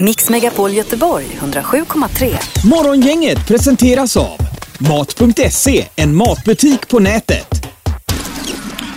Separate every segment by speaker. Speaker 1: Mix Megapol Göteborg 107,3.
Speaker 2: Morgongänget presenteras av Mat.se, en matbutik på nätet.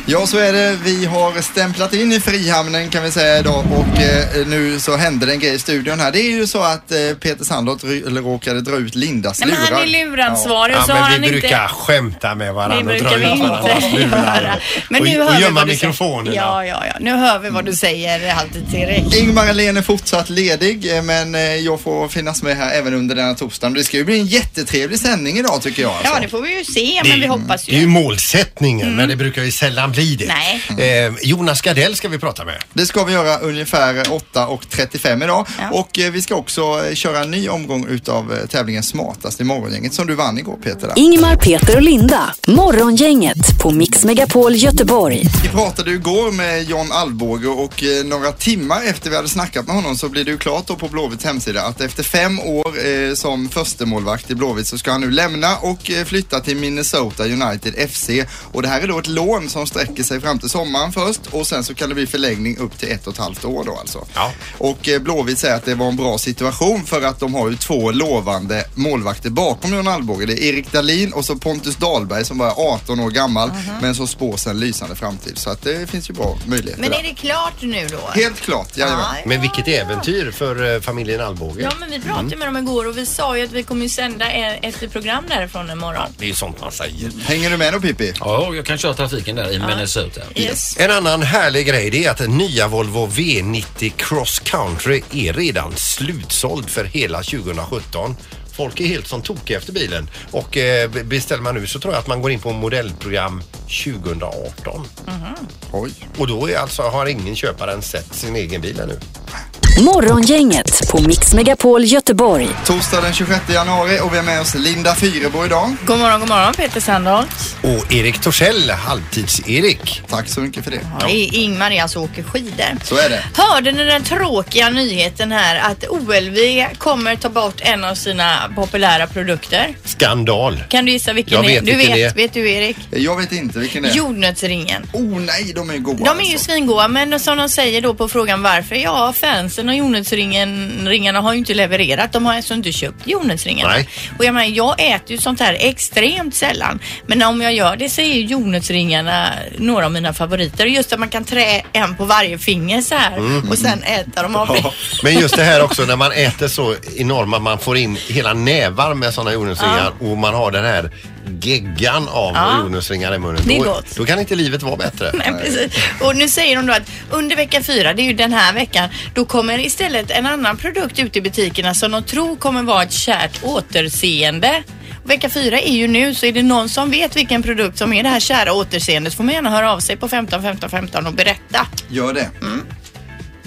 Speaker 3: Ja, så är det. Vi har stämplat in i Frihamnen kan vi säga idag och eh, nu så hände det en grej i studion här. Det är ju så att eh, Peter Sandholt ry- eller råkade dra ut Lindas
Speaker 4: Nej, men han är luransvarig
Speaker 5: Ja,
Speaker 4: så har
Speaker 5: men
Speaker 4: han
Speaker 5: vi brukar
Speaker 4: inte...
Speaker 5: skämta med
Speaker 4: Det
Speaker 5: varandra och dra
Speaker 4: brukar vi
Speaker 5: ut varandras
Speaker 4: inte göra.
Speaker 5: lurar.
Speaker 4: Men
Speaker 5: Och-
Speaker 4: nu
Speaker 5: och
Speaker 4: hör vi
Speaker 5: gömma
Speaker 4: vad du säger.
Speaker 5: mikrofonerna.
Speaker 4: Ja, ja, ja. Nu hör vi vad du säger alltid Erik.
Speaker 3: Ingmar Ahlén är fortsatt ledig eh, men eh, jag får finnas med här även under denna torsdagen. Det ska ju bli en jättetrevlig sändning idag tycker jag. Alltså.
Speaker 4: Ja, det får vi ju se, men vi hoppas
Speaker 5: det är ju
Speaker 4: ju.
Speaker 5: målsättningen, men det brukar ju sällan bli det.
Speaker 4: Mm. Nej.
Speaker 5: Eh, Jonas Gardell ska vi prata med.
Speaker 3: Det ska vi göra ungefär 8.35 idag
Speaker 4: Ja.
Speaker 3: och eh, vi ska också eh, köra en ny omgång utav eh, tävlingen Smartast i morgongänget som du vann igår Peter. Där.
Speaker 1: Ingmar, Peter och Linda. Morgongänget på Mix Megapol Göteborg.
Speaker 3: Vi pratade ju igår med John Alvbåge och eh, några timmar efter vi hade snackat med honom så blev det ju klart då på Blåvitts hemsida att efter fem år eh, som förstemålvakt i Blåvitt så ska han nu lämna och eh, flytta till Minnesota United FC. Och det här är då ett lån som sträcker sig fram till sommaren först och sen så kan det bli förlängning upp till ett och ett halvt år då alltså.
Speaker 5: Ja.
Speaker 3: Och eh, Blåvitt säger att det var en bra situation för att de har ju två lovande målvakter bakom John Alvbåge. Det är Erik Dahlin och så Pontus Dahlberg som bara är 18 år gammal men som spås en lysande framtid. Så att det finns ju bra möjligheter
Speaker 6: Men
Speaker 3: där.
Speaker 6: är det klart nu då?
Speaker 3: Helt klart, jajamän.
Speaker 6: Ja,
Speaker 5: Men vilket äventyr för eh, familjen Alvbåge.
Speaker 7: Ja, men vi pratade ju med dem igår och vi sa ju att vi kommer ju sända e- ett program därifrån imorgon.
Speaker 5: Det är ju sånt man säger.
Speaker 3: Hänger du med då Pippi?
Speaker 8: Ja, jag kan köra trafiken där i Minnesota.
Speaker 7: Yes.
Speaker 5: En annan härlig grej det är att den nya Volvo V90 Cross Country är redan slutsåld för hela 2017. Folk är helt som tokiga efter bilen och eh, b- beställer man nu så tror jag att man går in på modellprogram 2018.
Speaker 3: Oj.
Speaker 5: Och då är alltså, har ingen köpare än sett sin egen bil ännu.
Speaker 1: Morgongänget på Mix Megapol Göteborg.
Speaker 3: Torsdag den 26 januari och vi har med oss Linda Fyrebo idag.
Speaker 4: God morgon, god morgon Peter Sandholt.
Speaker 5: Och Erik Torssell, halvtids-Erik.
Speaker 3: Tack så mycket för det.
Speaker 4: Ja. Ingmar är alltså åker skidor.
Speaker 3: Så är det.
Speaker 4: Hörde ni den tråkiga nyheten här att OLV kommer ta bort en av sina populära produkter?
Speaker 5: Skandal.
Speaker 4: Kan du gissa vilken
Speaker 5: Jag
Speaker 4: det är?
Speaker 5: vet
Speaker 4: Du
Speaker 5: vilken
Speaker 4: vet,
Speaker 5: det är.
Speaker 4: vet du Erik?
Speaker 3: Jag vet inte vilken det är.
Speaker 4: Jordnötsringen.
Speaker 3: Oh nej, de är alltså. ju goda
Speaker 4: De är
Speaker 5: alltså.
Speaker 4: ju svingoa men som de säger då på frågan varför, ja fansen och jordnötsringarna har ju inte levererat. De har alltså inte köpt jordnötsringarna.
Speaker 5: Nej.
Speaker 4: Och jag menar jag äter ju sånt här extremt sällan. Men om jag gör det så är ju jordnötsringarna några av mina favoriter. Just att man kan trä en på varje finger så här
Speaker 5: Mm.
Speaker 4: och sen äta dem av det.
Speaker 5: Men just det här också när man äter så enorma, man får in hela nävar med sådana jordnötsringar och man har den här geggan av
Speaker 4: Ja.
Speaker 5: jordnötsringar i munnen.
Speaker 4: Det är
Speaker 5: Då,
Speaker 4: gott.
Speaker 5: då kan inte livet vara bättre.
Speaker 4: Nej, precis. Och nu säger de då att under vecka fyra, det är ju den här veckan, då kommer istället en annan produkt ut i butikerna som de tror kommer vara ett kärt återseende. Och Vecka fyra är ju nu, så är det någon som vet vilken produkt som är det här kära återseendet får man gärna höra av sig på 15 15 15 och berätta.
Speaker 3: Gör det.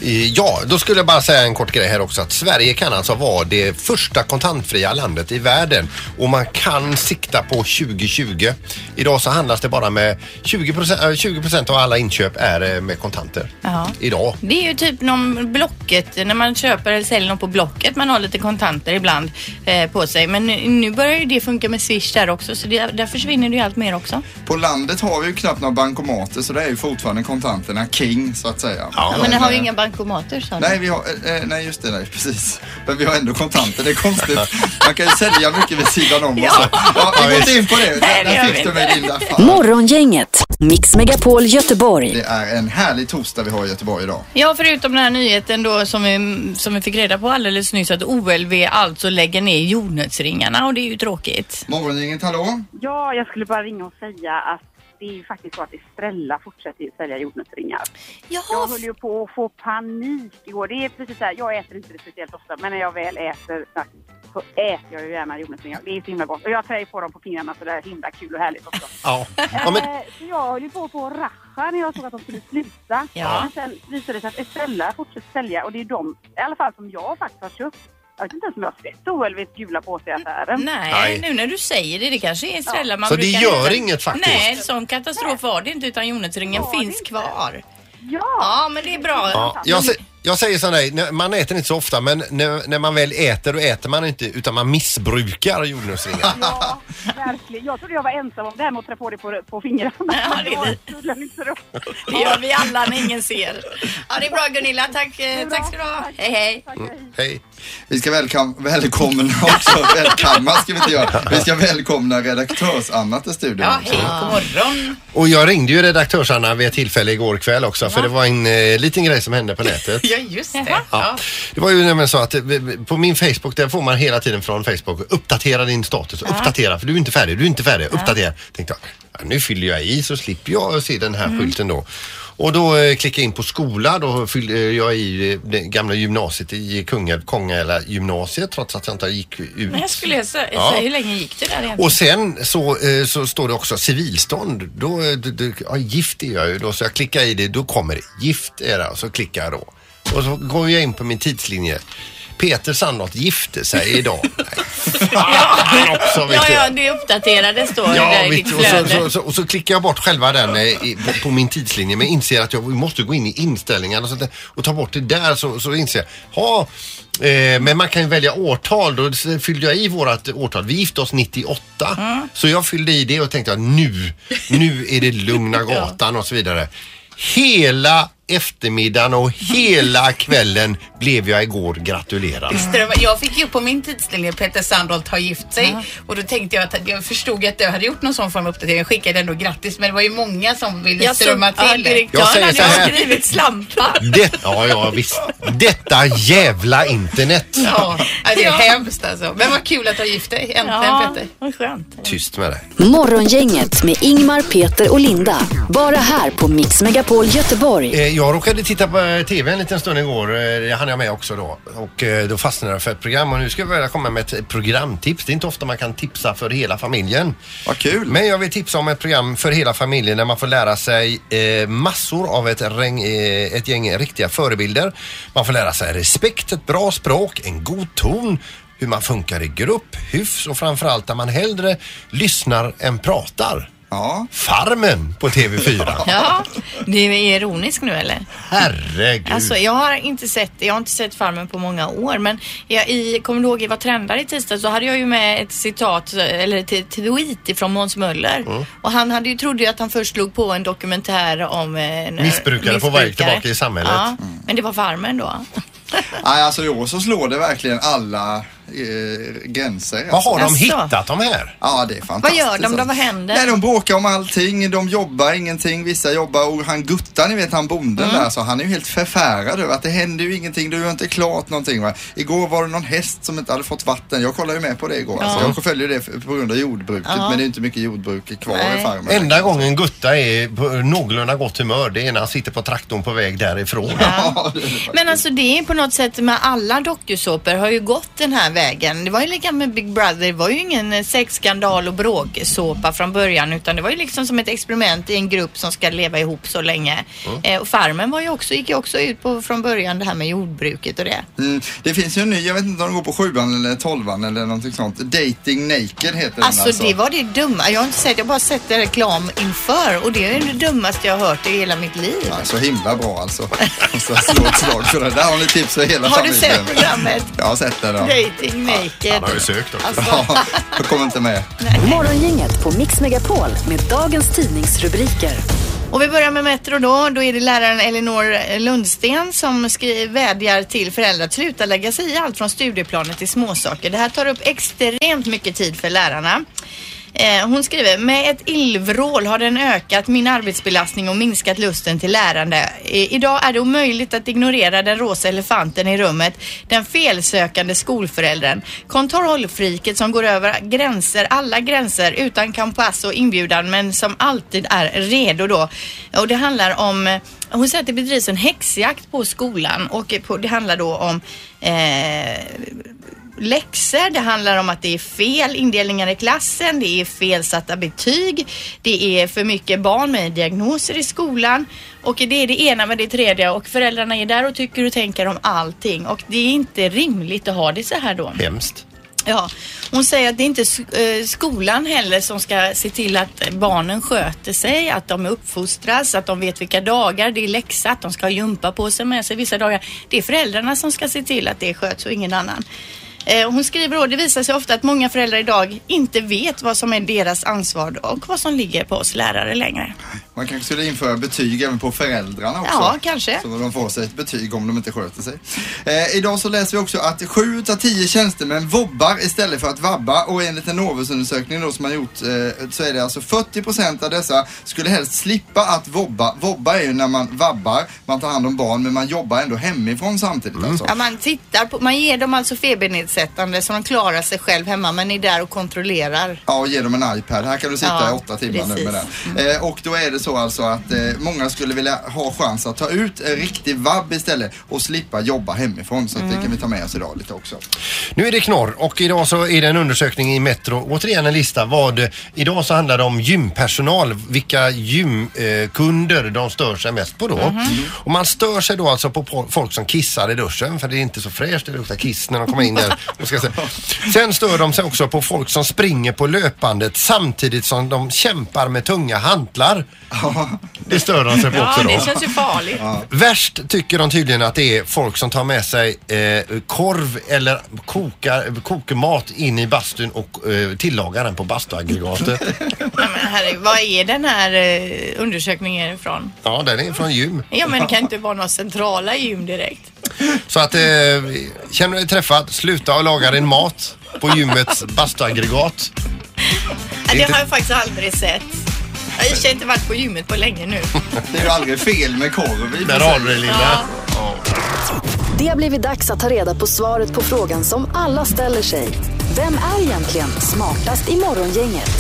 Speaker 5: Eh, Ja, då skulle jag bara säga en kort grej här också att Sverige kan alltså vara det första kontantfria landet i världen och man kan sikta på 2020. Idag så handlas det bara med 20 procent, 20 procent av alla inköp är eh, med kontanter.
Speaker 4: Ja.
Speaker 5: Idag.
Speaker 4: Det är ju typ någon Blocket, när man köper eller säljer något på Blocket, man har lite kontanter ibland eh, på sig. Men nu, nu börjar ju det funka med Swish där också, så det, där försvinner det ju allt mer också.
Speaker 3: På landet har vi ju knappt några bankomater så det är ju fortfarande kontanterna king så att säga.
Speaker 5: Ja.
Speaker 4: Ja, men ni har ju inga bankomater sa ni.
Speaker 3: Nej, vi har, eh, eh, nej just det, nej, precis. Men vi har ändå kontanter, det är konstigt. Man kan ju sälja mycket vid sidan om
Speaker 4: Ja.
Speaker 3: också. Ja, vi går inte in på det.
Speaker 4: Nej,
Speaker 3: Där,
Speaker 4: det gör
Speaker 3: där
Speaker 4: vi
Speaker 3: fick du
Speaker 4: inte.
Speaker 3: mig Linda. Fan.
Speaker 1: Morgongänget, Mix Megapol Göteborg.
Speaker 3: Det är en härlig torsdag vi har i Göteborg idag.
Speaker 4: Ja, förutom den här nyheten då som vi, som vi fick reda på alldeles nyss att OLV alltså lägger ner jordnötsringarna och det är ju tråkigt.
Speaker 3: Morgongänget, hallå?
Speaker 9: Ja, jag skulle bara ringa och säga att det är ju faktiskt så att Estrella fortsätter ju sälja jordnötsringar. Jag
Speaker 4: Jaha,
Speaker 9: höll ju på att få panik igår. Det är precis så här, jag äter inte det speciellt ofta, men när jag väl äter snack så äter jag ju gärna jordnötsringar. Det är så himla gott. Och jag trär ju på dem på fingrarna så det är himla kul och härligt också.
Speaker 5: Ja. ja men,
Speaker 9: Eh, Så jag höll ju på att få rascha när jag såg att de skulle sluta.
Speaker 4: Ja.
Speaker 9: Men sen visade det sig att Estrella fortsätter sälja och det är de, i alla fall som jag faktiskt har köpt. Jag vet inte ens om jag har sett OLVs gula påse i affären.
Speaker 4: nej,
Speaker 5: Nej.
Speaker 4: nu när du säger det, det kanske är Estrella man
Speaker 5: så det
Speaker 4: brukar
Speaker 5: gör
Speaker 4: hitta.
Speaker 5: inget faktiskt.
Speaker 4: Nej, sån katastrof var det inte utan jordnötsringen
Speaker 9: det
Speaker 4: finns
Speaker 9: inte.
Speaker 4: kvar.
Speaker 9: Ja!
Speaker 4: Ja, men det är bra.
Speaker 5: Ja, jag, se, Jag säger som dig, när- man äter inte så ofta men när, när man väl äter då äter man inte utan man missbrukar jordnötsringar.
Speaker 9: Ja, verkligen. Jag trodde jag var ensam om det här med att trä på det på, på fingrarna.
Speaker 4: Ja, det är
Speaker 9: var
Speaker 4: vi.
Speaker 9: tydligen inte roligt.
Speaker 4: Det gör vi alla när ingen ser. Ja, det är bra Gunilla. Tack, eh, tack ska du ha. Hej, hej.
Speaker 5: Hej.
Speaker 3: Vi ska välkom- välkomna också, välkomna ska vi inte göra. Vi ska välkomna redaktörs-Anna till studion.
Speaker 4: Ja,
Speaker 3: också.
Speaker 4: hej. God morgon.
Speaker 5: Och jag ringde ju redaktörs-Anna vid ett tillfälle igår kväll också för det var en eh, liten grej som hände på nätet.
Speaker 4: Ja, just det.
Speaker 5: Ja.
Speaker 4: Ja.
Speaker 5: Det var ju nämligen så att eh, på min Facebook, där får man hela tiden från Facebook uppdatera din status, uppdatera för du är inte färdig, du är inte färdig, uppdatera. Tänkte jag, ja, nu fyller jag i så slipper jag se den här
Speaker 4: Mm.
Speaker 5: skylten då. Och då eh, klickade jag in på skola, då fyllde eh, jag i eh, det gamla gymnasiet i Kungälv, Kongälva gymnasiet trots att jag inte gick ut.
Speaker 4: Men jag skulle jag säga,
Speaker 5: Ja.
Speaker 4: hur länge gick du där egentligen?
Speaker 5: Och sen så, eh, så står det också civilstånd. Då, eh, d- d- ja, gift är jag ju då, så jag klickar i det. Då kommer det. Gift är det, och så klickar jag då. Och så går jag in på min tidslinje. Peter Sandholt gifte sig idag. Nej, fan också, vet
Speaker 4: Ja,
Speaker 5: du.
Speaker 4: ja, det uppdaterades då
Speaker 5: Ja,
Speaker 4: där i
Speaker 5: vet
Speaker 4: ditt
Speaker 5: du, och, så,
Speaker 4: flöde.
Speaker 5: så, så, och så klickar jag bort själva den eh, i, på, på min tidslinje men inser att jag måste gå in i inställningarna och, sånt där, och ta bort det där så, så inser jag, ha, eh, men man kan ju välja årtal. Då s- fyllde jag i vårat årtal. Vi gifte oss 98. Så jag fyllde i det och tänkte att nu, nu är det lugna gatan och så vidare. Hela eftermiddagen och hela kvällen blev jag igår gratulerad.
Speaker 6: Visste du vad- Jag fick ju upp på min tidslinje Peter Sandholt har gift sig och då tänkte jag att jag förstod att jag hade gjort någon sån form av uppdatering. Jag skickade ändå grattis men det var ju många som ville
Speaker 4: Jag såg
Speaker 6: strömma
Speaker 4: att
Speaker 6: till.
Speaker 4: direktören
Speaker 5: Jag säger
Speaker 4: hade
Speaker 5: så här.
Speaker 4: skrivit slampa.
Speaker 5: Det, ja, ja, visst. Detta jävla internet.
Speaker 6: Ja, ja, det är hemskt alltså. Men vad kul att du har gift dig. Äntligen
Speaker 4: Ja,
Speaker 6: Peter.
Speaker 4: vad skönt.
Speaker 5: Tyst med dig.
Speaker 1: Morgongänget med Ingmar, Peter och Linda. Bara här på Mix Megapol Göteborg.
Speaker 5: Eh, Jag råkade titta på eh, TV en liten stund igår. eh, Det hann jag med också då. Och eh, då fastnade jag för ett program och nu ska jag börja komma med ett eh, programtips. Det är inte ofta man kan tipsa för hela familjen.
Speaker 3: Vad kul.
Speaker 5: Men jag vill tipsa om ett program för hela familjen där man får lära sig eh, massor av ett, regn- eh, ett gäng riktiga förebilder. Man får lära sig respekt, ett bra språk, en god ton, hur man funkar i grupp, hyfs och framförallt där man hellre lyssnar än pratar.
Speaker 3: Ja.
Speaker 5: Farmen på TV4.
Speaker 4: Ja, du är ironisk nu eller?
Speaker 5: Herregud.
Speaker 4: Alltså, jag har inte sett, jag har inte sett Farmen på många år men jag i, kommer du ihåg i Vad trendar i tisdags så hade jag ju med ett citat eller ett ett tweet ifrån Måns Möller och han hade ju, trodde ju att han först slog på en dokumentär om en, eh,
Speaker 5: Missbrukare på väg tillbaka i samhället. Mm.
Speaker 4: Ja, men det var Farmen då.
Speaker 3: Nej, alltså i år så slår det verkligen alla eh, gränser.
Speaker 5: Vad har de
Speaker 4: Alltså.
Speaker 5: hittat de här?
Speaker 3: Ja, det är fantastiskt.
Speaker 4: Vad gör de då? Vad händer?
Speaker 3: Nej, de bråkar om allting. De jobbar ingenting. Vissa jobbar och han Gutta, ni vet han bonden där, så han är ju helt förfärad över att det händer ju ingenting. Du har inte klart någonting. Va? Igår var det någon häst som inte hade fått vatten. Jag kollade ju med på det igår. Alltså, jag följer det för- på grund av jordbruket, men det är inte mycket jordbruk kvar i
Speaker 4: Nej.
Speaker 3: farmen.
Speaker 5: Enda gången Gutta är på någorlunda gott humör det är när han sitter på traktorn på väg därifrån.
Speaker 3: Ja, det är det.
Speaker 4: Men alltså det är på något sätt med alla dokusåpor har ju gått den här vägen. Det var ju lika med Big Brother. Det var ju ingen eh, sexskandal och bråksåpa från början utan det var ju liksom som ett experiment i en grupp som ska leva ihop så länge. Eh, och Farmen var ju också, gick ju också ut på från början det här med jordbruket och det.
Speaker 3: Mm, det finns ju en ny, jag vet inte om de går på sjuan eller tolvan eller någonting sånt. Dating Naked heter den
Speaker 4: Alltså det var det dumma. Jag har inte sett, jag har bara sett det reklam inför och det är det dummaste jag har hört i hela mitt liv.
Speaker 3: Ja, Så himla bra alltså. Jag ska slå ett slag för det. Där har ni tips för hela
Speaker 4: Har du
Speaker 3: familjen.
Speaker 4: sett programmet?
Speaker 3: Jag har sett det. Då.
Speaker 4: Dating Alltså, Naked.
Speaker 5: Han har ju sökt också.
Speaker 3: Ja, jag kommer inte med.
Speaker 1: Morgongänget på Mix Megapol med dagens tidningsrubriker.
Speaker 4: Och vi börjar med Metro då. Då är det läraren Elinor Lundsten som skri- vädjar till föräldrar att sluta lägga sig i allt från studieplaner till småsaker. Det här tar upp extremt mycket tid för lärarna. Eh, Hon skriver, med ett illvrål har den ökat min arbetsbelastning och minskat lusten till lärande. I- Idag är det omöjligt att ignorera den rosa elefanten i rummet, den felsökande skolföräldern, kontrollfriket som går över gränser, alla gränser utan kompass och inbjudan men som alltid är redo då. Och det handlar om eh, hon säger att det bedrivs en häxjakt på skolan och eh, på, det handlar då om eh, läxor, det handlar om att det är fel indelningar i klassen, det är felsatta betyg, det är för mycket barn med diagnoser i skolan och det är det ena med det tredje och föräldrarna är där och tycker och tänker om allting och det är inte rimligt att ha det så här då.
Speaker 5: Hemskt.
Speaker 4: Ja, hon säger att det är inte sk- eh, skolan heller som ska se till att barnen sköter sig, att de uppfostras, att de vet vilka dagar det är läxa, att de ska ha jumpa på sig med sig vissa dagar. Det är föräldrarna som ska se till att det sköts och ingen annan. Eh, och Hon skriver då, det visar sig ofta att många föräldrar idag inte vet vad som är deras ansvar och vad som ligger på oss lärare längre.
Speaker 3: Man kanske skulle införa betyg även på föräldrarna också.
Speaker 4: Ja, kanske.
Speaker 3: Så de får sig ett betyg om de inte sköter sig. Eh, idag så läser vi också att 7 av 10 tjänstemän vobbar istället för att vabba och enligt en Novusundersökning då som har gjort eh, så är det alltså 40% av dessa skulle helst slippa att vobba. Vobba är ju när man vabbar, man tar hand om barn men man jobbar ändå hemifrån samtidigt alltså.
Speaker 4: Ja, man, tittar på, man ger dem alltså febernedsättande så de klarar sig själv hemma men är där och kontrollerar.
Speaker 3: Ja, och ge dem en iPad. Här kan du sitta
Speaker 4: Ja,
Speaker 3: i åtta timmar nu
Speaker 4: precis.
Speaker 3: med den. Eh, och då är det så alltså att eh, många skulle vilja ha chans att ta ut en riktig vabb istället och slippa jobba hemifrån. Så att det kan vi ta med oss idag lite också.
Speaker 5: Nu är det knorr och idag så är det en undersökning i Metro. Återigen en lista vad idag så handlar det om gympersonal. Vilka gymkunder de stör sig mest på då.
Speaker 7: Mhm.
Speaker 5: Och man stör sig då alltså på po- folk som kissar i duschen för det är inte så fräscht. Det luktar kiss när de kommer in där. Och ska se. Sen stör de sig också på folk som springer på löpbandet samtidigt som de kämpar med tunga hantlar. Det stör de sig på också
Speaker 7: Ja,
Speaker 5: då.
Speaker 7: det känns ju farligt.
Speaker 5: Värst tycker de tydligen att det är folk som tar med sig eh, korv eller kokar, kokmat in i bastun och eh, tillagar den på bastuaggregatet.
Speaker 4: Ja, men herregud, vad är den här eh, undersökningen ifrån?
Speaker 5: Ja, den är från gym.
Speaker 4: Ja men det kan inte vara några centrala gym direkt.
Speaker 5: Så att eh, känner du dig träffad, sluta och laga din mat på gymmets bastuaggregat.
Speaker 4: Ja, det
Speaker 5: Inte-
Speaker 4: har jag faktiskt aldrig sett. Jag har i och för sig inte varit på gymmet på länge nu.
Speaker 3: Det är ju aldrig fel med korv i och för
Speaker 5: Där
Speaker 3: sig.
Speaker 5: har du det lilla.
Speaker 1: Det har blivit dags att ta reda på svaret på frågan som alla ställer sig. Vem är egentligen smartast i morgongänget?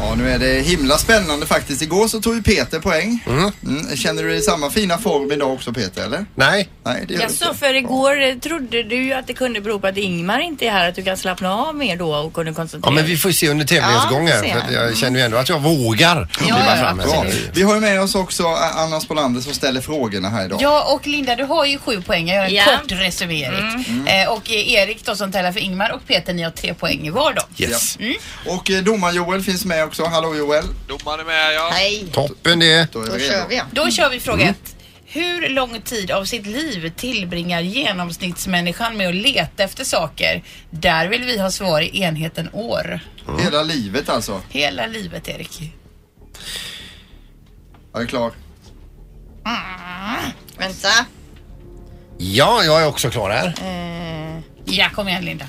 Speaker 3: Ja, nu är det himla spännande faktiskt. Igår så tog ju Peter poäng. Mm. Känner du dig i samma fina form idag också Peter, eller?
Speaker 5: Nej,
Speaker 3: Nej, det gör du
Speaker 4: Jaså,
Speaker 3: inte.
Speaker 4: för igår eh, trodde du ju att det kunde bero på att Ingmar inte är här, att du kan slappna av mer då och kunde
Speaker 5: ja,
Speaker 4: koncentrera
Speaker 5: men vi får se under tävlingens
Speaker 4: Ja,
Speaker 5: gång
Speaker 4: får
Speaker 5: här.
Speaker 4: se.
Speaker 5: För att jag känner ju ändå att jag vågar kliva fram här.
Speaker 3: Bra. Vi har ju med oss också eh, Anna Spolander som ställer frågorna här idag.
Speaker 6: Ja och Linda du har ju sju poäng. Jag gör en
Speaker 4: Ja.
Speaker 6: kort resumering. Eh, och eh, Erik då som tävlar för Ingmar och Peter ni har tre poäng var då.
Speaker 5: Yes.
Speaker 3: Och eh, domar-Joel finns med också. Hallå Joel.
Speaker 10: Domaren är med, ja.
Speaker 6: Nej.
Speaker 5: Toppen det.
Speaker 3: Då är
Speaker 4: Då
Speaker 3: vi
Speaker 4: kör
Speaker 3: redo.
Speaker 4: vi.
Speaker 6: Då kör vi fråga ett. Hur lång tid av sitt liv tillbringar genomsnittsmänniskan med att leta efter saker? Där vill vi ha svar i enheten år.
Speaker 3: Hela livet alltså.
Speaker 6: Hela livet Erik.
Speaker 3: Jag är klar.
Speaker 4: Vänta.
Speaker 5: Ja, jag är också klar här.
Speaker 6: Ja kom igen Linda.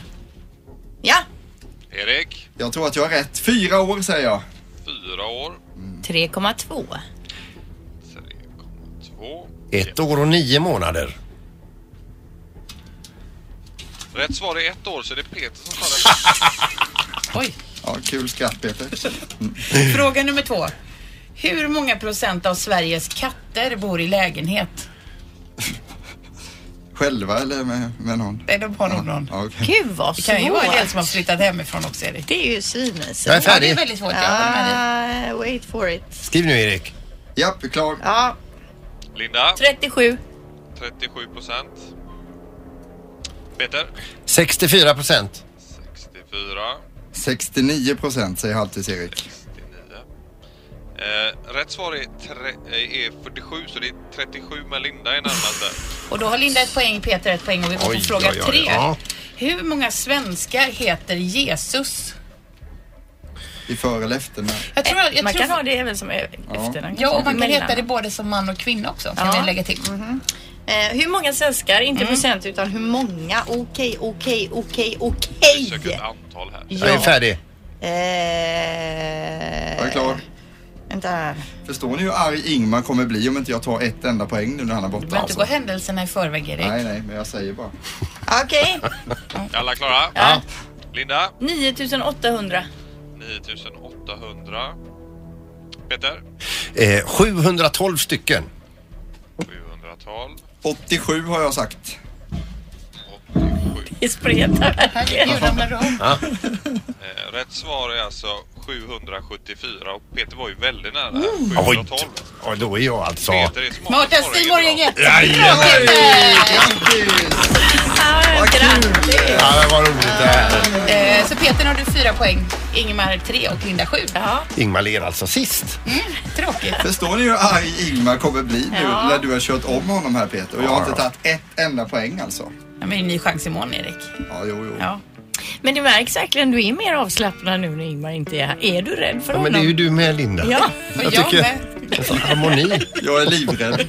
Speaker 4: Ja.
Speaker 10: Erik,
Speaker 3: Jag tror att jag har rätt. Fyra år säger jag.
Speaker 10: fyra år.
Speaker 4: 3,2.
Speaker 10: 3,2.
Speaker 5: Ett år och nio månader.
Speaker 10: Rätt svar är ett år, så det är Peter som tar det.
Speaker 6: Oj.
Speaker 3: Ja, kul skratt Peter.
Speaker 6: Fråga nummer två. Hur många procent av Sveriges katter bor i lägenhet?
Speaker 3: Själva eller med, med någon?
Speaker 6: Nej, de har nog någon.
Speaker 3: Ja, okej.
Speaker 4: Gud vad
Speaker 6: Det
Speaker 4: svårt.
Speaker 6: kan ju vara en del som har flyttat hemifrån också Erik.
Speaker 4: Det är ju svinmysigt.
Speaker 5: Jag är
Speaker 6: Ja, det är
Speaker 5: färdig.
Speaker 6: väldigt svårt. Ja. men-
Speaker 4: Ah, wait for it.
Speaker 5: Skriv nu Erik.
Speaker 3: Japp, klar.
Speaker 4: Ja,
Speaker 10: Linda,
Speaker 4: 37.
Speaker 10: 37 procent. Peter,
Speaker 5: 64 procent.
Speaker 10: 64.
Speaker 3: 69 procent säger halvtids-Erik.
Speaker 10: 69. Eh, rätt svar är, tre, eh, är 47, så det är 37 med Linda är närmast där.
Speaker 6: Och då har Linda ett poäng, Peter ett poäng och vi går
Speaker 5: Oj,
Speaker 6: på fråga
Speaker 5: oj, oj,
Speaker 6: tre.
Speaker 5: ja.
Speaker 6: Hur många svenskar heter Jesus?
Speaker 3: I för eller efternamn.
Speaker 6: Jag tror, jag
Speaker 4: Eh, Man
Speaker 6: tror,
Speaker 4: kan ha det även som e- efternamn.
Speaker 6: Ja, och man kan
Speaker 4: Mellannamn.
Speaker 6: heta det både som man och kvinna också, kan
Speaker 4: Ja.
Speaker 6: vi lägga till. Mm.
Speaker 4: Eh, hur många svenskar, inte procent utan hur många? Okej, okej, okej, okej.
Speaker 10: Vi söker ett antal här.
Speaker 5: Jag är färdig.
Speaker 3: Jag är
Speaker 4: Eh,
Speaker 3: klar.
Speaker 4: vänta här.
Speaker 3: Förstår ni hur arg Ingmar kommer bli om inte jag tar ett enda poäng nu när han är borta? alltså?
Speaker 6: Du behöver inte gå händelserna i förväg, Erik.
Speaker 3: Nej, nej, men jag säger bara.
Speaker 4: Okej,
Speaker 10: Alla klara?
Speaker 5: Ja.
Speaker 10: Linda,
Speaker 4: 9800.
Speaker 10: 9800. Peter,
Speaker 5: Eh, 712 stycken.
Speaker 10: 712.
Speaker 3: 87 har jag sagt.
Speaker 10: 87.
Speaker 4: Det spretar verkligen.
Speaker 6: Herregud, ramlar du om?
Speaker 10: Eh, Rätt svar är alltså 774 och Peter var ju väldigt nära.
Speaker 5: Oj,
Speaker 10: 712.
Speaker 5: t- ja, typ då är jag alltså...
Speaker 10: Peter är smart.
Speaker 6: Martin
Speaker 10: Morgongänget
Speaker 6: Stig
Speaker 10: bra.
Speaker 6: Morgänge!
Speaker 5: Jajamän!
Speaker 3: Grattis!
Speaker 4: Ah,
Speaker 3: Vad kul!
Speaker 5: Ja, det var roligt det här.
Speaker 6: Eh, Så Så Peter nu har du fyra poäng, Ingemar tre och Linda sju.
Speaker 5: Ingmar ler alltså sist.
Speaker 6: Tråkigt.
Speaker 3: Förstår ni hur arg Ingmar kommer bli nu
Speaker 6: Ja.
Speaker 3: när du har kört om honom här Peter? Och jag har
Speaker 5: Ja,
Speaker 3: inte
Speaker 5: ja.
Speaker 3: tagit ett enda poäng alltså.
Speaker 6: Ja, men det är en ny chans imorgon Erik.
Speaker 3: Ja, jo, jo.
Speaker 6: Ja.
Speaker 4: Men det märks verkligen, du är mer avslappnad nu när Ingmar inte är här. Är du rädd för
Speaker 5: Ja,
Speaker 4: honom?
Speaker 5: men det är ju du med Linda.
Speaker 4: Ja,
Speaker 5: jag
Speaker 4: jag
Speaker 5: tycker
Speaker 4: med.
Speaker 5: en sån harmoni.
Speaker 3: Jag är livrädd.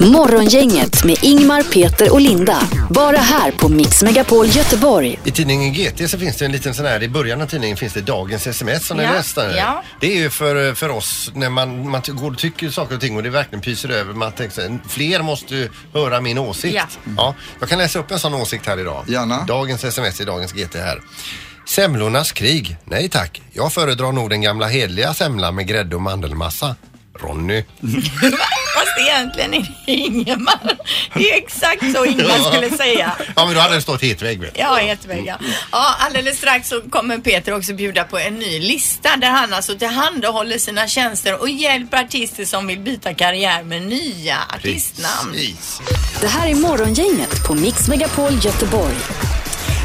Speaker 1: Morgongänget med Ingmar, Peter och Linda. Bara här på Mix Megapol Göteborg.
Speaker 5: I tidningen GT så finns det en liten sån här, i början av tidningen finns det dagens sms som ni
Speaker 4: Ja,
Speaker 5: läste.
Speaker 4: ja.
Speaker 5: Det är ju för, för oss när man, man ty- går och tycker saker och ting och det verkligen pyser över. Man tänker så här, fler måste ju höra min åsikt. Mm.
Speaker 4: Ja.
Speaker 5: Ja, jag kan läsa upp en sån åsikt här idag.
Speaker 3: Gärna.
Speaker 5: Dagens sms i dagens GT här. Semlornas krig? Nej tack. Jag föredrar nog den gamla hedliga semlan med grädde och mandelmassa. Ronny.
Speaker 4: Fast egentligen är det Ingemar. Det är exakt så Ingemar skulle säga.
Speaker 5: Ja men då hade det stått hetvägg vet du.
Speaker 4: Ja, jättevägga.
Speaker 5: Mm.
Speaker 4: Ja, alldeles strax så kommer Peter också bjuda på en ny lista där han alltså tillhandahåller sina tjänster och hjälper artister som vill byta karriär med nya artistnamn.
Speaker 5: Precis.
Speaker 1: Det här är Morgongänget på Mix Megapol Göteborg.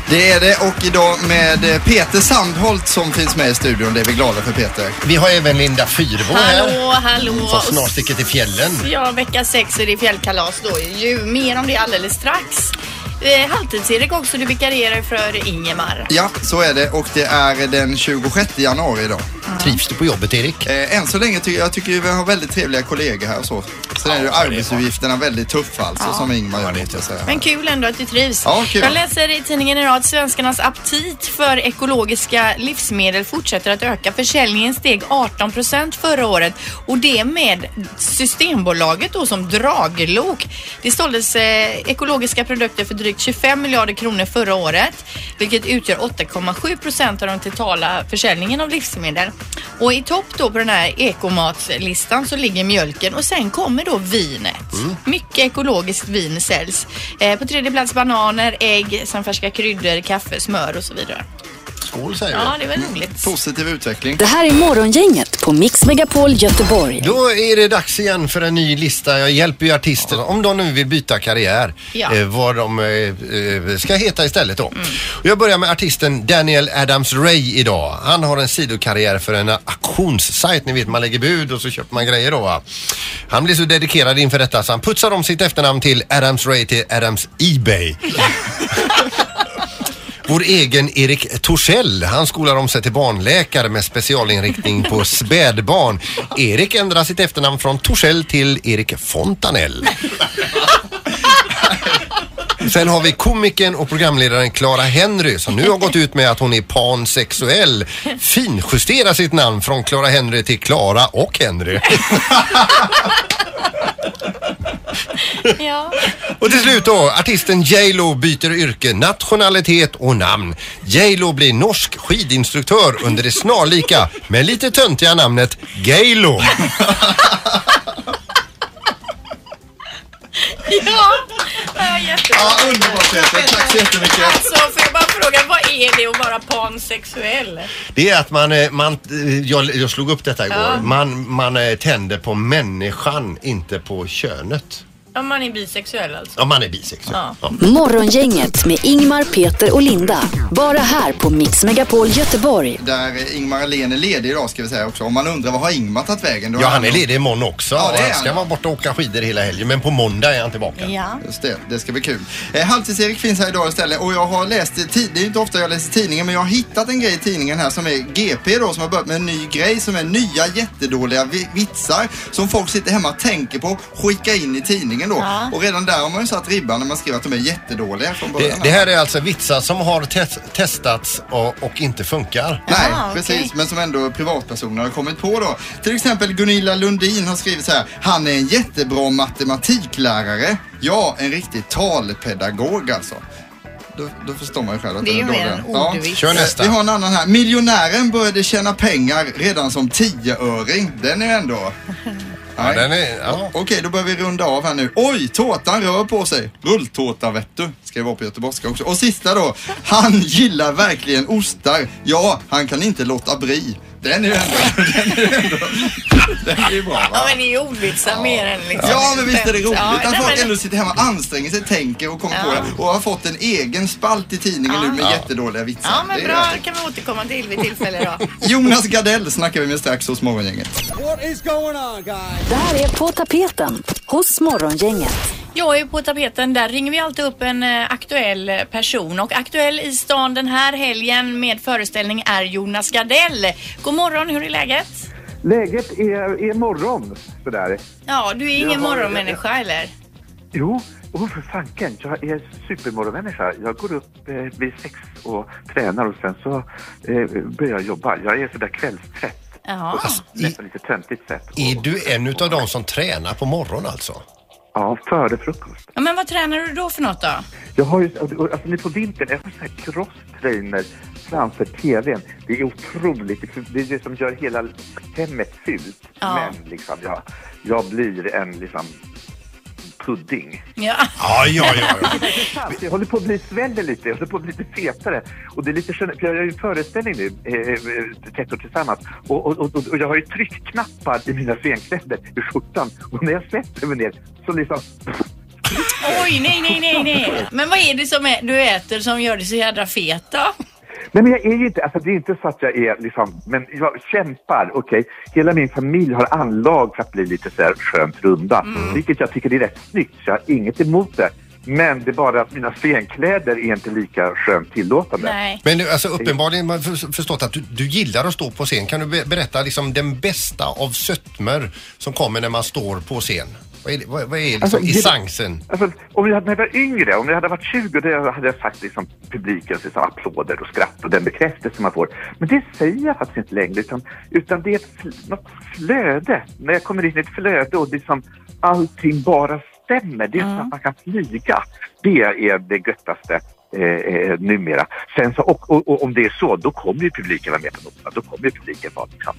Speaker 3: Det är det och idag med eh, Peter Sandholt som finns med i studion. Det är vi glada för Peter.
Speaker 5: Vi har även Linda Fyrbo här.
Speaker 4: Hallå, hallå.
Speaker 5: Som Mm. snart sticker till fjällen.
Speaker 4: Ja, vecka sex är det fjällkalas då ju. Mer om det alldeles strax. Eh, Halvtids-Erik också, du vikarierar för Ingemar.
Speaker 3: Ja, så är det och det är den 26 januari idag.
Speaker 5: Trivs du på jobbet Erik?
Speaker 3: Eh, än så länge tycker jag tycker vi har väldigt trevliga kollegor här och så. Sen är ju arbetsuppgifterna väldigt tuffa alltså som Ingmar gör. måste jag säga.
Speaker 4: Men kul ändå att du trivs.
Speaker 3: Ja, kul.
Speaker 4: Jag läser i tidningen idag att svenskarnas aptit för ekologiska livsmedel fortsätter att öka. Försäljningen steg 18 procent förra året och det med Systembolaget då som draglok. Det såldes eh, ekologiska produkter för drygt 25 miljarder kronor förra året, vilket utgör 8,7 procent av den totala försäljningen av livsmedel. Och i topp då på den här ekomatslistan så ligger mjölken och sen kommer då vinet.
Speaker 3: Mm.
Speaker 4: Mycket ekologiskt vin säljs. Eh, på tredje plats bananer, ägg, sen färska kryddor, kaffe, smör och så vidare.
Speaker 5: Skål säger vi.
Speaker 4: Ja, det var roligt.
Speaker 3: Positiv utveckling.
Speaker 1: Det här är Morgongänget på Mix Megapol Göteborg.
Speaker 5: Då är det dags igen för en ny lista. Jag hjälper ju artister om de nu vill byta karriär.
Speaker 4: Ja.
Speaker 5: Eh, vad de eh, eh, ska heta istället då. Och Jag börjar med artisten Daniel Adams Ray idag. Han har en sidokarriär för en auktionssajt. Ni vet man lägger bud och så köper man grejer då va. Han blir så dedikerad inför detta så han putsar om sitt efternamn till Adams Ray till Adams Ebay. Vår egen Erik Torssell, han skolar om sig till barnläkare med specialinriktning på spädbarn. Erik ändrar sitt efternamn från Torssell till Erik Fontanell. Sen har vi komikern och programledaren Clara Henry som nu har gått ut med att hon är pansexuell. Finjusterar sitt namn från Clara Henry till Clara och Henry.
Speaker 4: Ja.
Speaker 5: Och till slut då, artisten J.Lo byter yrke, nationalitet och namn. J.Lo blir norsk skidinstruktör under det snarlika, men lite töntiga namnet Gaylo.
Speaker 4: ja. ja jättebra.
Speaker 3: Ja, underbart Peter. Tack så jättemycket.
Speaker 4: Alltså, får jag bara fråga, vad är det att vara pansexuell?
Speaker 5: Det är att man, eh, man eh, jag, jag slog upp detta igår, man, man eh, tänder på människan, inte på könet.
Speaker 4: Om man är bisexuell alltså?
Speaker 5: Om man är bisexuell.
Speaker 4: Ja.
Speaker 5: Ja.
Speaker 1: Morgongänget med Ingmar, Peter och Linda. Bara här på Mix Megapol Göteborg.
Speaker 3: Där eh, Ingmar Ahlén är ledig idag ska vi säga också. Om man undrar vad har Ingmar tagit vägen? Då
Speaker 5: Ja, han är ledig imorgon också.
Speaker 3: Ja, det är
Speaker 5: han ska
Speaker 3: han.
Speaker 5: vara borta och åka skidor hela helgen, men på måndag är han tillbaka.
Speaker 4: Ja.
Speaker 3: Just det, det ska bli kul. Eh, Halvtids-Erik finns här idag istället och jag har läst, i tid- det är inte ofta jag läser tidningen men jag har hittat en grej i tidningen här som är GP då som har börjat med en ny grej som är nya jättedåliga vi- vitsar som folk sitter hemma och tänker på skicka in i tidningen då. Och redan där har man ju satt ribban när man skriver att de är jättedåliga från början.
Speaker 5: Det, det här är alltså vitsar som har tes- testats och, och inte funkar.
Speaker 3: Nej,
Speaker 4: Jaha,
Speaker 3: precis.
Speaker 4: okej.
Speaker 3: Men som ändå privatpersoner har kommit på då. Till exempel Gunilla Lundin har skrivit så här. Han är en jättebra matematiklärare. Ja, en riktig talpedagog alltså. Då, då förstår man ju själv att
Speaker 4: Det är
Speaker 3: den
Speaker 4: ju mer
Speaker 3: dålig.
Speaker 4: en ordvits.
Speaker 5: Kör nästa.
Speaker 3: Vi har en annan här. Miljonären började tjäna pengar redan som tioöring. Den är ju ändå...
Speaker 5: Ja,
Speaker 3: Nej.
Speaker 5: den är, ja.
Speaker 3: Okej, då börjar vi runda av här nu. Oj, tårtan rör på sig. Rulltårta vet du, skrev jag på göteborgska också. Och sista då. Han gillar verkligen ostar. Ja, han kan inte låta bli. Den är ju ändå... Den är ju ändå... Den är ju bra va?
Speaker 4: Ja men det är ju ordvitsar mer än liksom.
Speaker 3: Ja men visst är det roligt
Speaker 4: Ja,
Speaker 3: att
Speaker 4: nej,
Speaker 3: folk
Speaker 4: men-
Speaker 3: ändå sitter hemma och anstränger sig, tänker och kommer
Speaker 4: Ja.
Speaker 3: på det. Och har fått en egen spalt i tidningen nu med
Speaker 4: Ja.
Speaker 3: jättedåliga vitsar.
Speaker 4: Ja
Speaker 3: Det
Speaker 4: men
Speaker 3: är
Speaker 4: bra,
Speaker 3: ju-
Speaker 4: kan vi återkomma till vid tillfälle då.
Speaker 3: Jonas Gardell snackar vi med strax hos Morgongänget.
Speaker 1: What is going on guys? Det här är På tapeten hos Morgongänget.
Speaker 7: Jag är på tapeten. Där ringer vi alltid upp en eh, aktuell eh, person. Och aktuell i stan den här helgen med föreställning är Jonas Gardell. God morgon, hur är läget?
Speaker 11: Läget är, är morgon, sådär.
Speaker 7: Ja, du är ingen
Speaker 11: Jag har-
Speaker 7: morgonmänniska eller?
Speaker 11: Jo, oh, för fanken, jag är supermorgonmänniska. Jag går upp eh, vid sex och tränar och sen så eh, börjar jag jobba. Jag är sådär kvällstrött,
Speaker 7: Jaha.
Speaker 11: nästan lite töntigt sett.
Speaker 5: Är du en utav de som tränar på morgonen alltså?
Speaker 11: Ja, före frukost.
Speaker 7: Ja, men vad tränar du då för något då?
Speaker 11: Jag har ju, och- och- alltså nu på vintern, jag har sån här crosstrainer framför TVn. Det är otroligt, det är det som gör hela hemmet fult.
Speaker 7: Ja.
Speaker 11: Men liksom, jag, jag blir en liksom pudding.
Speaker 7: Ja.
Speaker 5: Ja, ja, ja.
Speaker 11: Jag håller på att bli sväller lite, jag håller på att bli lite fetare. Och det är lite, skön- för jag gör ju en föreställning nu, eh, Tätt och tillsammans. Och, och, och, och jag har ju tryckknappar i mina scenkläder, i skjortan. Och när jag sätter mig ner så liksom...
Speaker 7: Oj, nej, nej, nej, nej. Men vad är det som är, du äter som gör dig så jädra fet då?
Speaker 11: Nej men jag är ju inte, alltså det är inte så att jag är liksom, men jag kämpar, okej. Hela min familj har anlag för att bli lite så här skönt runda. Vilket jag tycker är rätt snyggt, så jag har inget emot det. Men det är bara att mina scenkläder är inte lika skönt tillåtande.
Speaker 5: Men nu, alltså, uppenbarligen har man förs- förstått att du, du gillar att stå på scen. Kan du be- berätta liksom den bästa av sötmer som kommer när man står på scen? Vad är, det- vad, vad är liksom
Speaker 11: Alltså, det-
Speaker 5: essensen?
Speaker 11: Alltså, om jag hade när jag var yngre, om jag hade varit 20, då hade jag sagt liksom publikens liksom, applåder och skratt och den bekräftelse man får. Men det säger jag faktiskt inte längre, utan, utan det är ett fl- något flöde. När jag kommer in i ett flöde och liksom allting bara stämmer, det är som att man kan flyga. Det är det göttaste. Eh, eh, numera. Sen så, och, och, och om det är så, då kommer ju publiken vara med på noterna. Då kommer ju publiken vara liksom.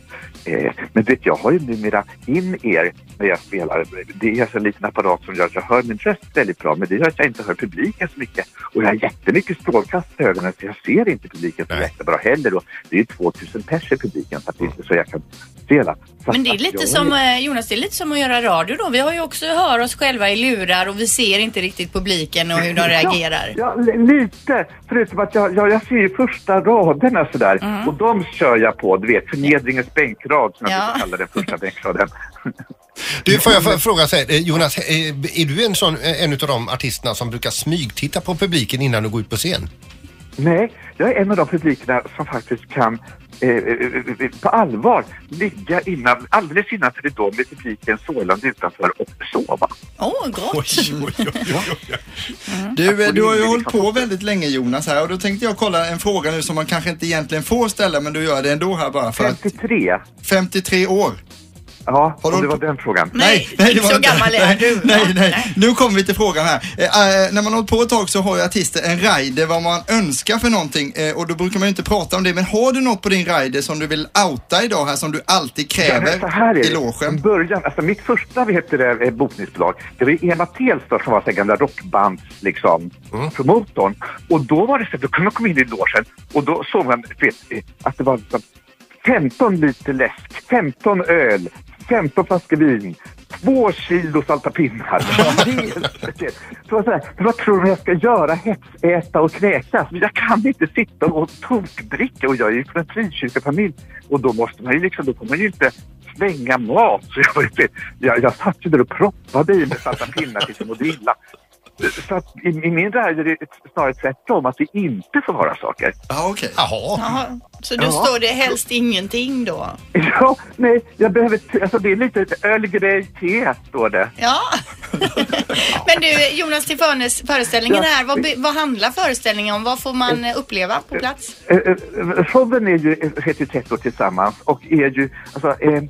Speaker 11: Eh, men vet, jag har ju numera in-ear när jag spelar. Det är alltså en liten apparat som gör att jag hör min röst väldigt bra, men det gör att jag inte hör publiken så mycket. Och jag har jättemycket strålkast i ögonen, så jag ser inte publiken så jättebra heller. Och det är ju 2000 pers i publiken, så att det är inte så jag kan se alla. Så
Speaker 7: Men det är
Speaker 11: att
Speaker 7: lite
Speaker 11: jag-
Speaker 7: som, eh, Jonas, det är lite som att göra radio då. Vi har ju också hör oss själva i lurar och vi ser inte riktigt publiken och hur de reagerar.
Speaker 11: Ja, li- lite. Förutom att jag, jag, jag ser ju första raderna sådär. Och de kör jag på, du vet, förnedringens bänkrad som
Speaker 7: Ja.
Speaker 11: jag brukar kalla den första bänkraden.
Speaker 5: Du, får jag f- fråga så här, eh, Jonas, eh, är du en, sån, eh, en utav de artisterna som brukar smygtitta på publiken innan du går ut på scen?
Speaker 11: Nej, jag är en av de publikerna som faktiskt kan eh, eh, eh, på allvar ligga innan, alldeles innanför ridån med publiken sålande utanför och sova.
Speaker 7: Åh, oh, gott!
Speaker 3: Du, eh, du har ju hållit på väldigt länge Jonas här och då tänkte jag kolla en fråga nu som man kanske inte egentligen får ställa men du gör det ändå här bara för att...
Speaker 11: 53.
Speaker 3: 53 år.
Speaker 11: Ja,
Speaker 3: har du...
Speaker 11: Det var den frågan.
Speaker 3: Nej, nej, det var
Speaker 4: så
Speaker 3: inte-
Speaker 4: gammal är
Speaker 3: nej,
Speaker 4: du, va?
Speaker 3: Nej, nej. Nu kommer vi till frågan här. Eh, eh, när man har hållit på ett tag så har ju artister en rider vad man önskar för någonting eh, och då brukar man ju inte prata om det. Men har du något på din rider som du vill outa idag här som du alltid
Speaker 11: Ja,
Speaker 3: kräver
Speaker 11: men så här är
Speaker 3: i
Speaker 11: det.
Speaker 3: logen?
Speaker 11: Från början, alltså mitt första vad heter det, eh, bokningsbolag, det var ju Eva Telstad som var så här gamla rockbands liksom,
Speaker 3: Mm.
Speaker 11: promotorn. Och då var det så att då kunde man komma in i logen och då såg man du vet, eh, att det var liksom 15 liter läsk, 15 öl, 15 flaskor vin, två kilo salta pinnar. Det- Så var det så här, men vad tror du jag ska göra? Hetsäta och kräkas? Men Jag kan inte sitta och tokdricka och jag är ju från en frikyrkofamilj och då måste man ju liksom, då får man ju inte slänga mat. Så jag, var ju- jag, jag satt ju där och proppade i mig salta pinnar tills jag mådde illa. Så att i, i min värld är det snarare tvärtom, att vi inte får vara saker.
Speaker 3: Ja, okej.
Speaker 4: Jaha, så då
Speaker 11: Ja.
Speaker 4: står det helst ingenting då?
Speaker 11: Ja, nej, jag behöver... t- Alltså det är lite ett öl, grej, te, står det.
Speaker 4: Ja. Men du Jonas till förnes- föreställningen här, vad, be- vad handlar föreställningen om? Vad får man eh, uppleva på plats?
Speaker 11: Eh, eh, Showen är ju, heter ju Tätt och tillsammans och är ju, alltså, eh,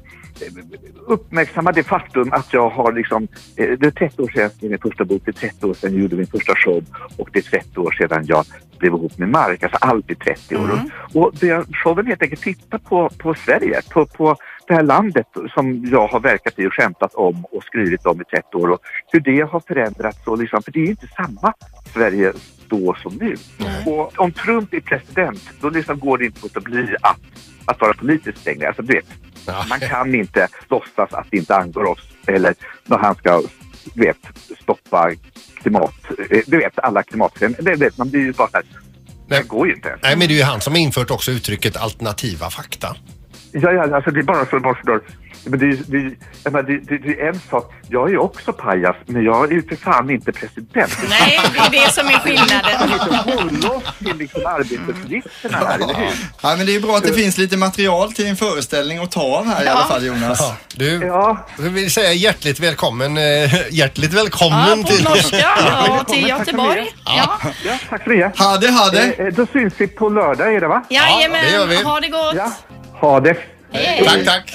Speaker 11: uppmärksamma det faktum att jag har liksom, eh, det är 30 år sedan jag skrev min första bok, det är 30 år sedan jag gjorde min första show och det är 30 år sedan jag blev ihop med Mark, alltså allt är 30 år. Och det, showen helt enkelt tittar på, på Sverige, på, på det här landet som jag har verkat i och skämtat om och skrivit om i 30 år och hur det har förändrats och liksom, för det är ju inte samma Sverige då som nu. Och om Trump är president, då liksom går det inte att låta bli att, att vara politiskt längre. Alltså, du vet, man kan inte låtsas att det inte angår oss eller när han ska du vet, stoppa klimat... eh, Du vet, alla klimatförändringar. Det- det- Man blir ju bara så här, det går ju inte.
Speaker 5: Nej, men det är ju han som har infört också uttrycket alternativa fakta.
Speaker 11: Ja, ja, alltså det är bara för morfar. Men det, är- det, är- jag menar, det, det, det är en sak, jag är ju också pajas, men jag är ju för fan inte president.
Speaker 7: Nej, det är det som är skillnaden.
Speaker 11: till liksom arbetsuppgifterna här, eller hur?
Speaker 3: Ja, men det är bra att det finns lite material till en föreställning att ta av här i alla fall Jonas.
Speaker 5: Ja, du, jag vill säga hjärtligt välkommen, eh, hjärtligt välkommen
Speaker 7: Ja, på
Speaker 5: till...
Speaker 7: norska. Ja, till
Speaker 11: Välkomna, tack för
Speaker 7: Göteborg.
Speaker 11: det. Ja, tack för det.
Speaker 3: Hade, hade.
Speaker 11: Eh, eh, då syns vi på lördag, är det va?
Speaker 7: Jajamän,
Speaker 11: det gör vi.
Speaker 7: ha det gott.
Speaker 11: Ha det.
Speaker 5: Tack, tack.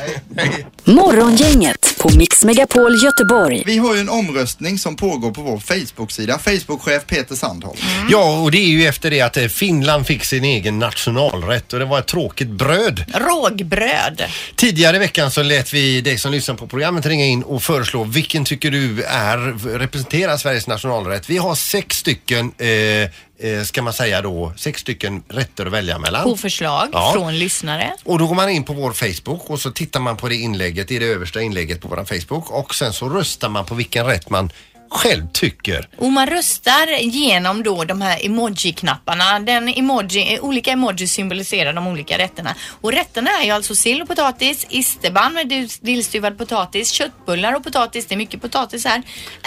Speaker 1: Morgongänget på Mix Megapol Göteborg.
Speaker 3: Vi har ju en omröstning som pågår på vår Facebook-sida. Facebook-chef Peter Sandholm.
Speaker 4: Mm.
Speaker 5: Ja, och det är ju efter det att eh, Finland fick sin egen nationalrätt och det var ett tråkigt bröd.
Speaker 4: Rågbröd.
Speaker 5: Tidigare i veckan så lät vi dig som lyssnar på programmet ringa in och föreslå vilken tycker du är, representerar Sveriges nationalrätt. Vi har sex stycken, eh, eh, ska man säga då, sex stycken rätter att välja mellan.
Speaker 4: På förslag
Speaker 5: Ja.
Speaker 4: från lyssnare.
Speaker 5: Och då går man in på vår Facebook och så tittar man på det inlägget, det är det översta inlägget på vår Facebook och sen så röstar man på vilken rätt man själv tycker.
Speaker 4: Och man röstar genom då de här emoji-knapparna. Den emoji, eh, olika emojis symboliserar de olika rätterna. Och rätterna är ju alltså sill och potatis, isterband med dus- dillstuvad potatis, köttbullar och potatis, det är mycket potatis här,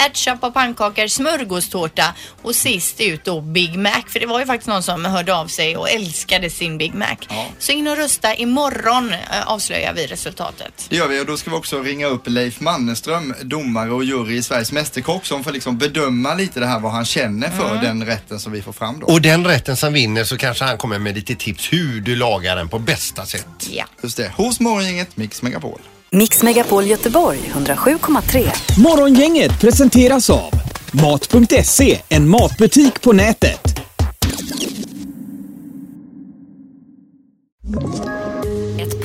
Speaker 4: ärtsoppa och pannkakor, smörgåstårta och sist ut då Big Mac. För det var ju faktiskt någon som hörde av sig och älskade sin Big Mac. Så in och rösta imorgon eh, avslöjar vi resultatet.
Speaker 3: Det gör vi och då ska vi också ringa upp Leif Mannerström, domare och jury i Sveriges Mästerkock som får liksom bedöma lite det här vad han känner för den rätten som vi får fram då.
Speaker 5: Och den rätten som vinner så kanske han kommer med lite tips hur du lagar den på bästa sätt.
Speaker 4: Ja.
Speaker 3: Just det, hos Morgongänget Mix Megapol.
Speaker 1: Mix Megapol Göteborg 107,3.
Speaker 2: Morgongänget presenteras av Mat.se, en matbutik på nätet.
Speaker 12: Ett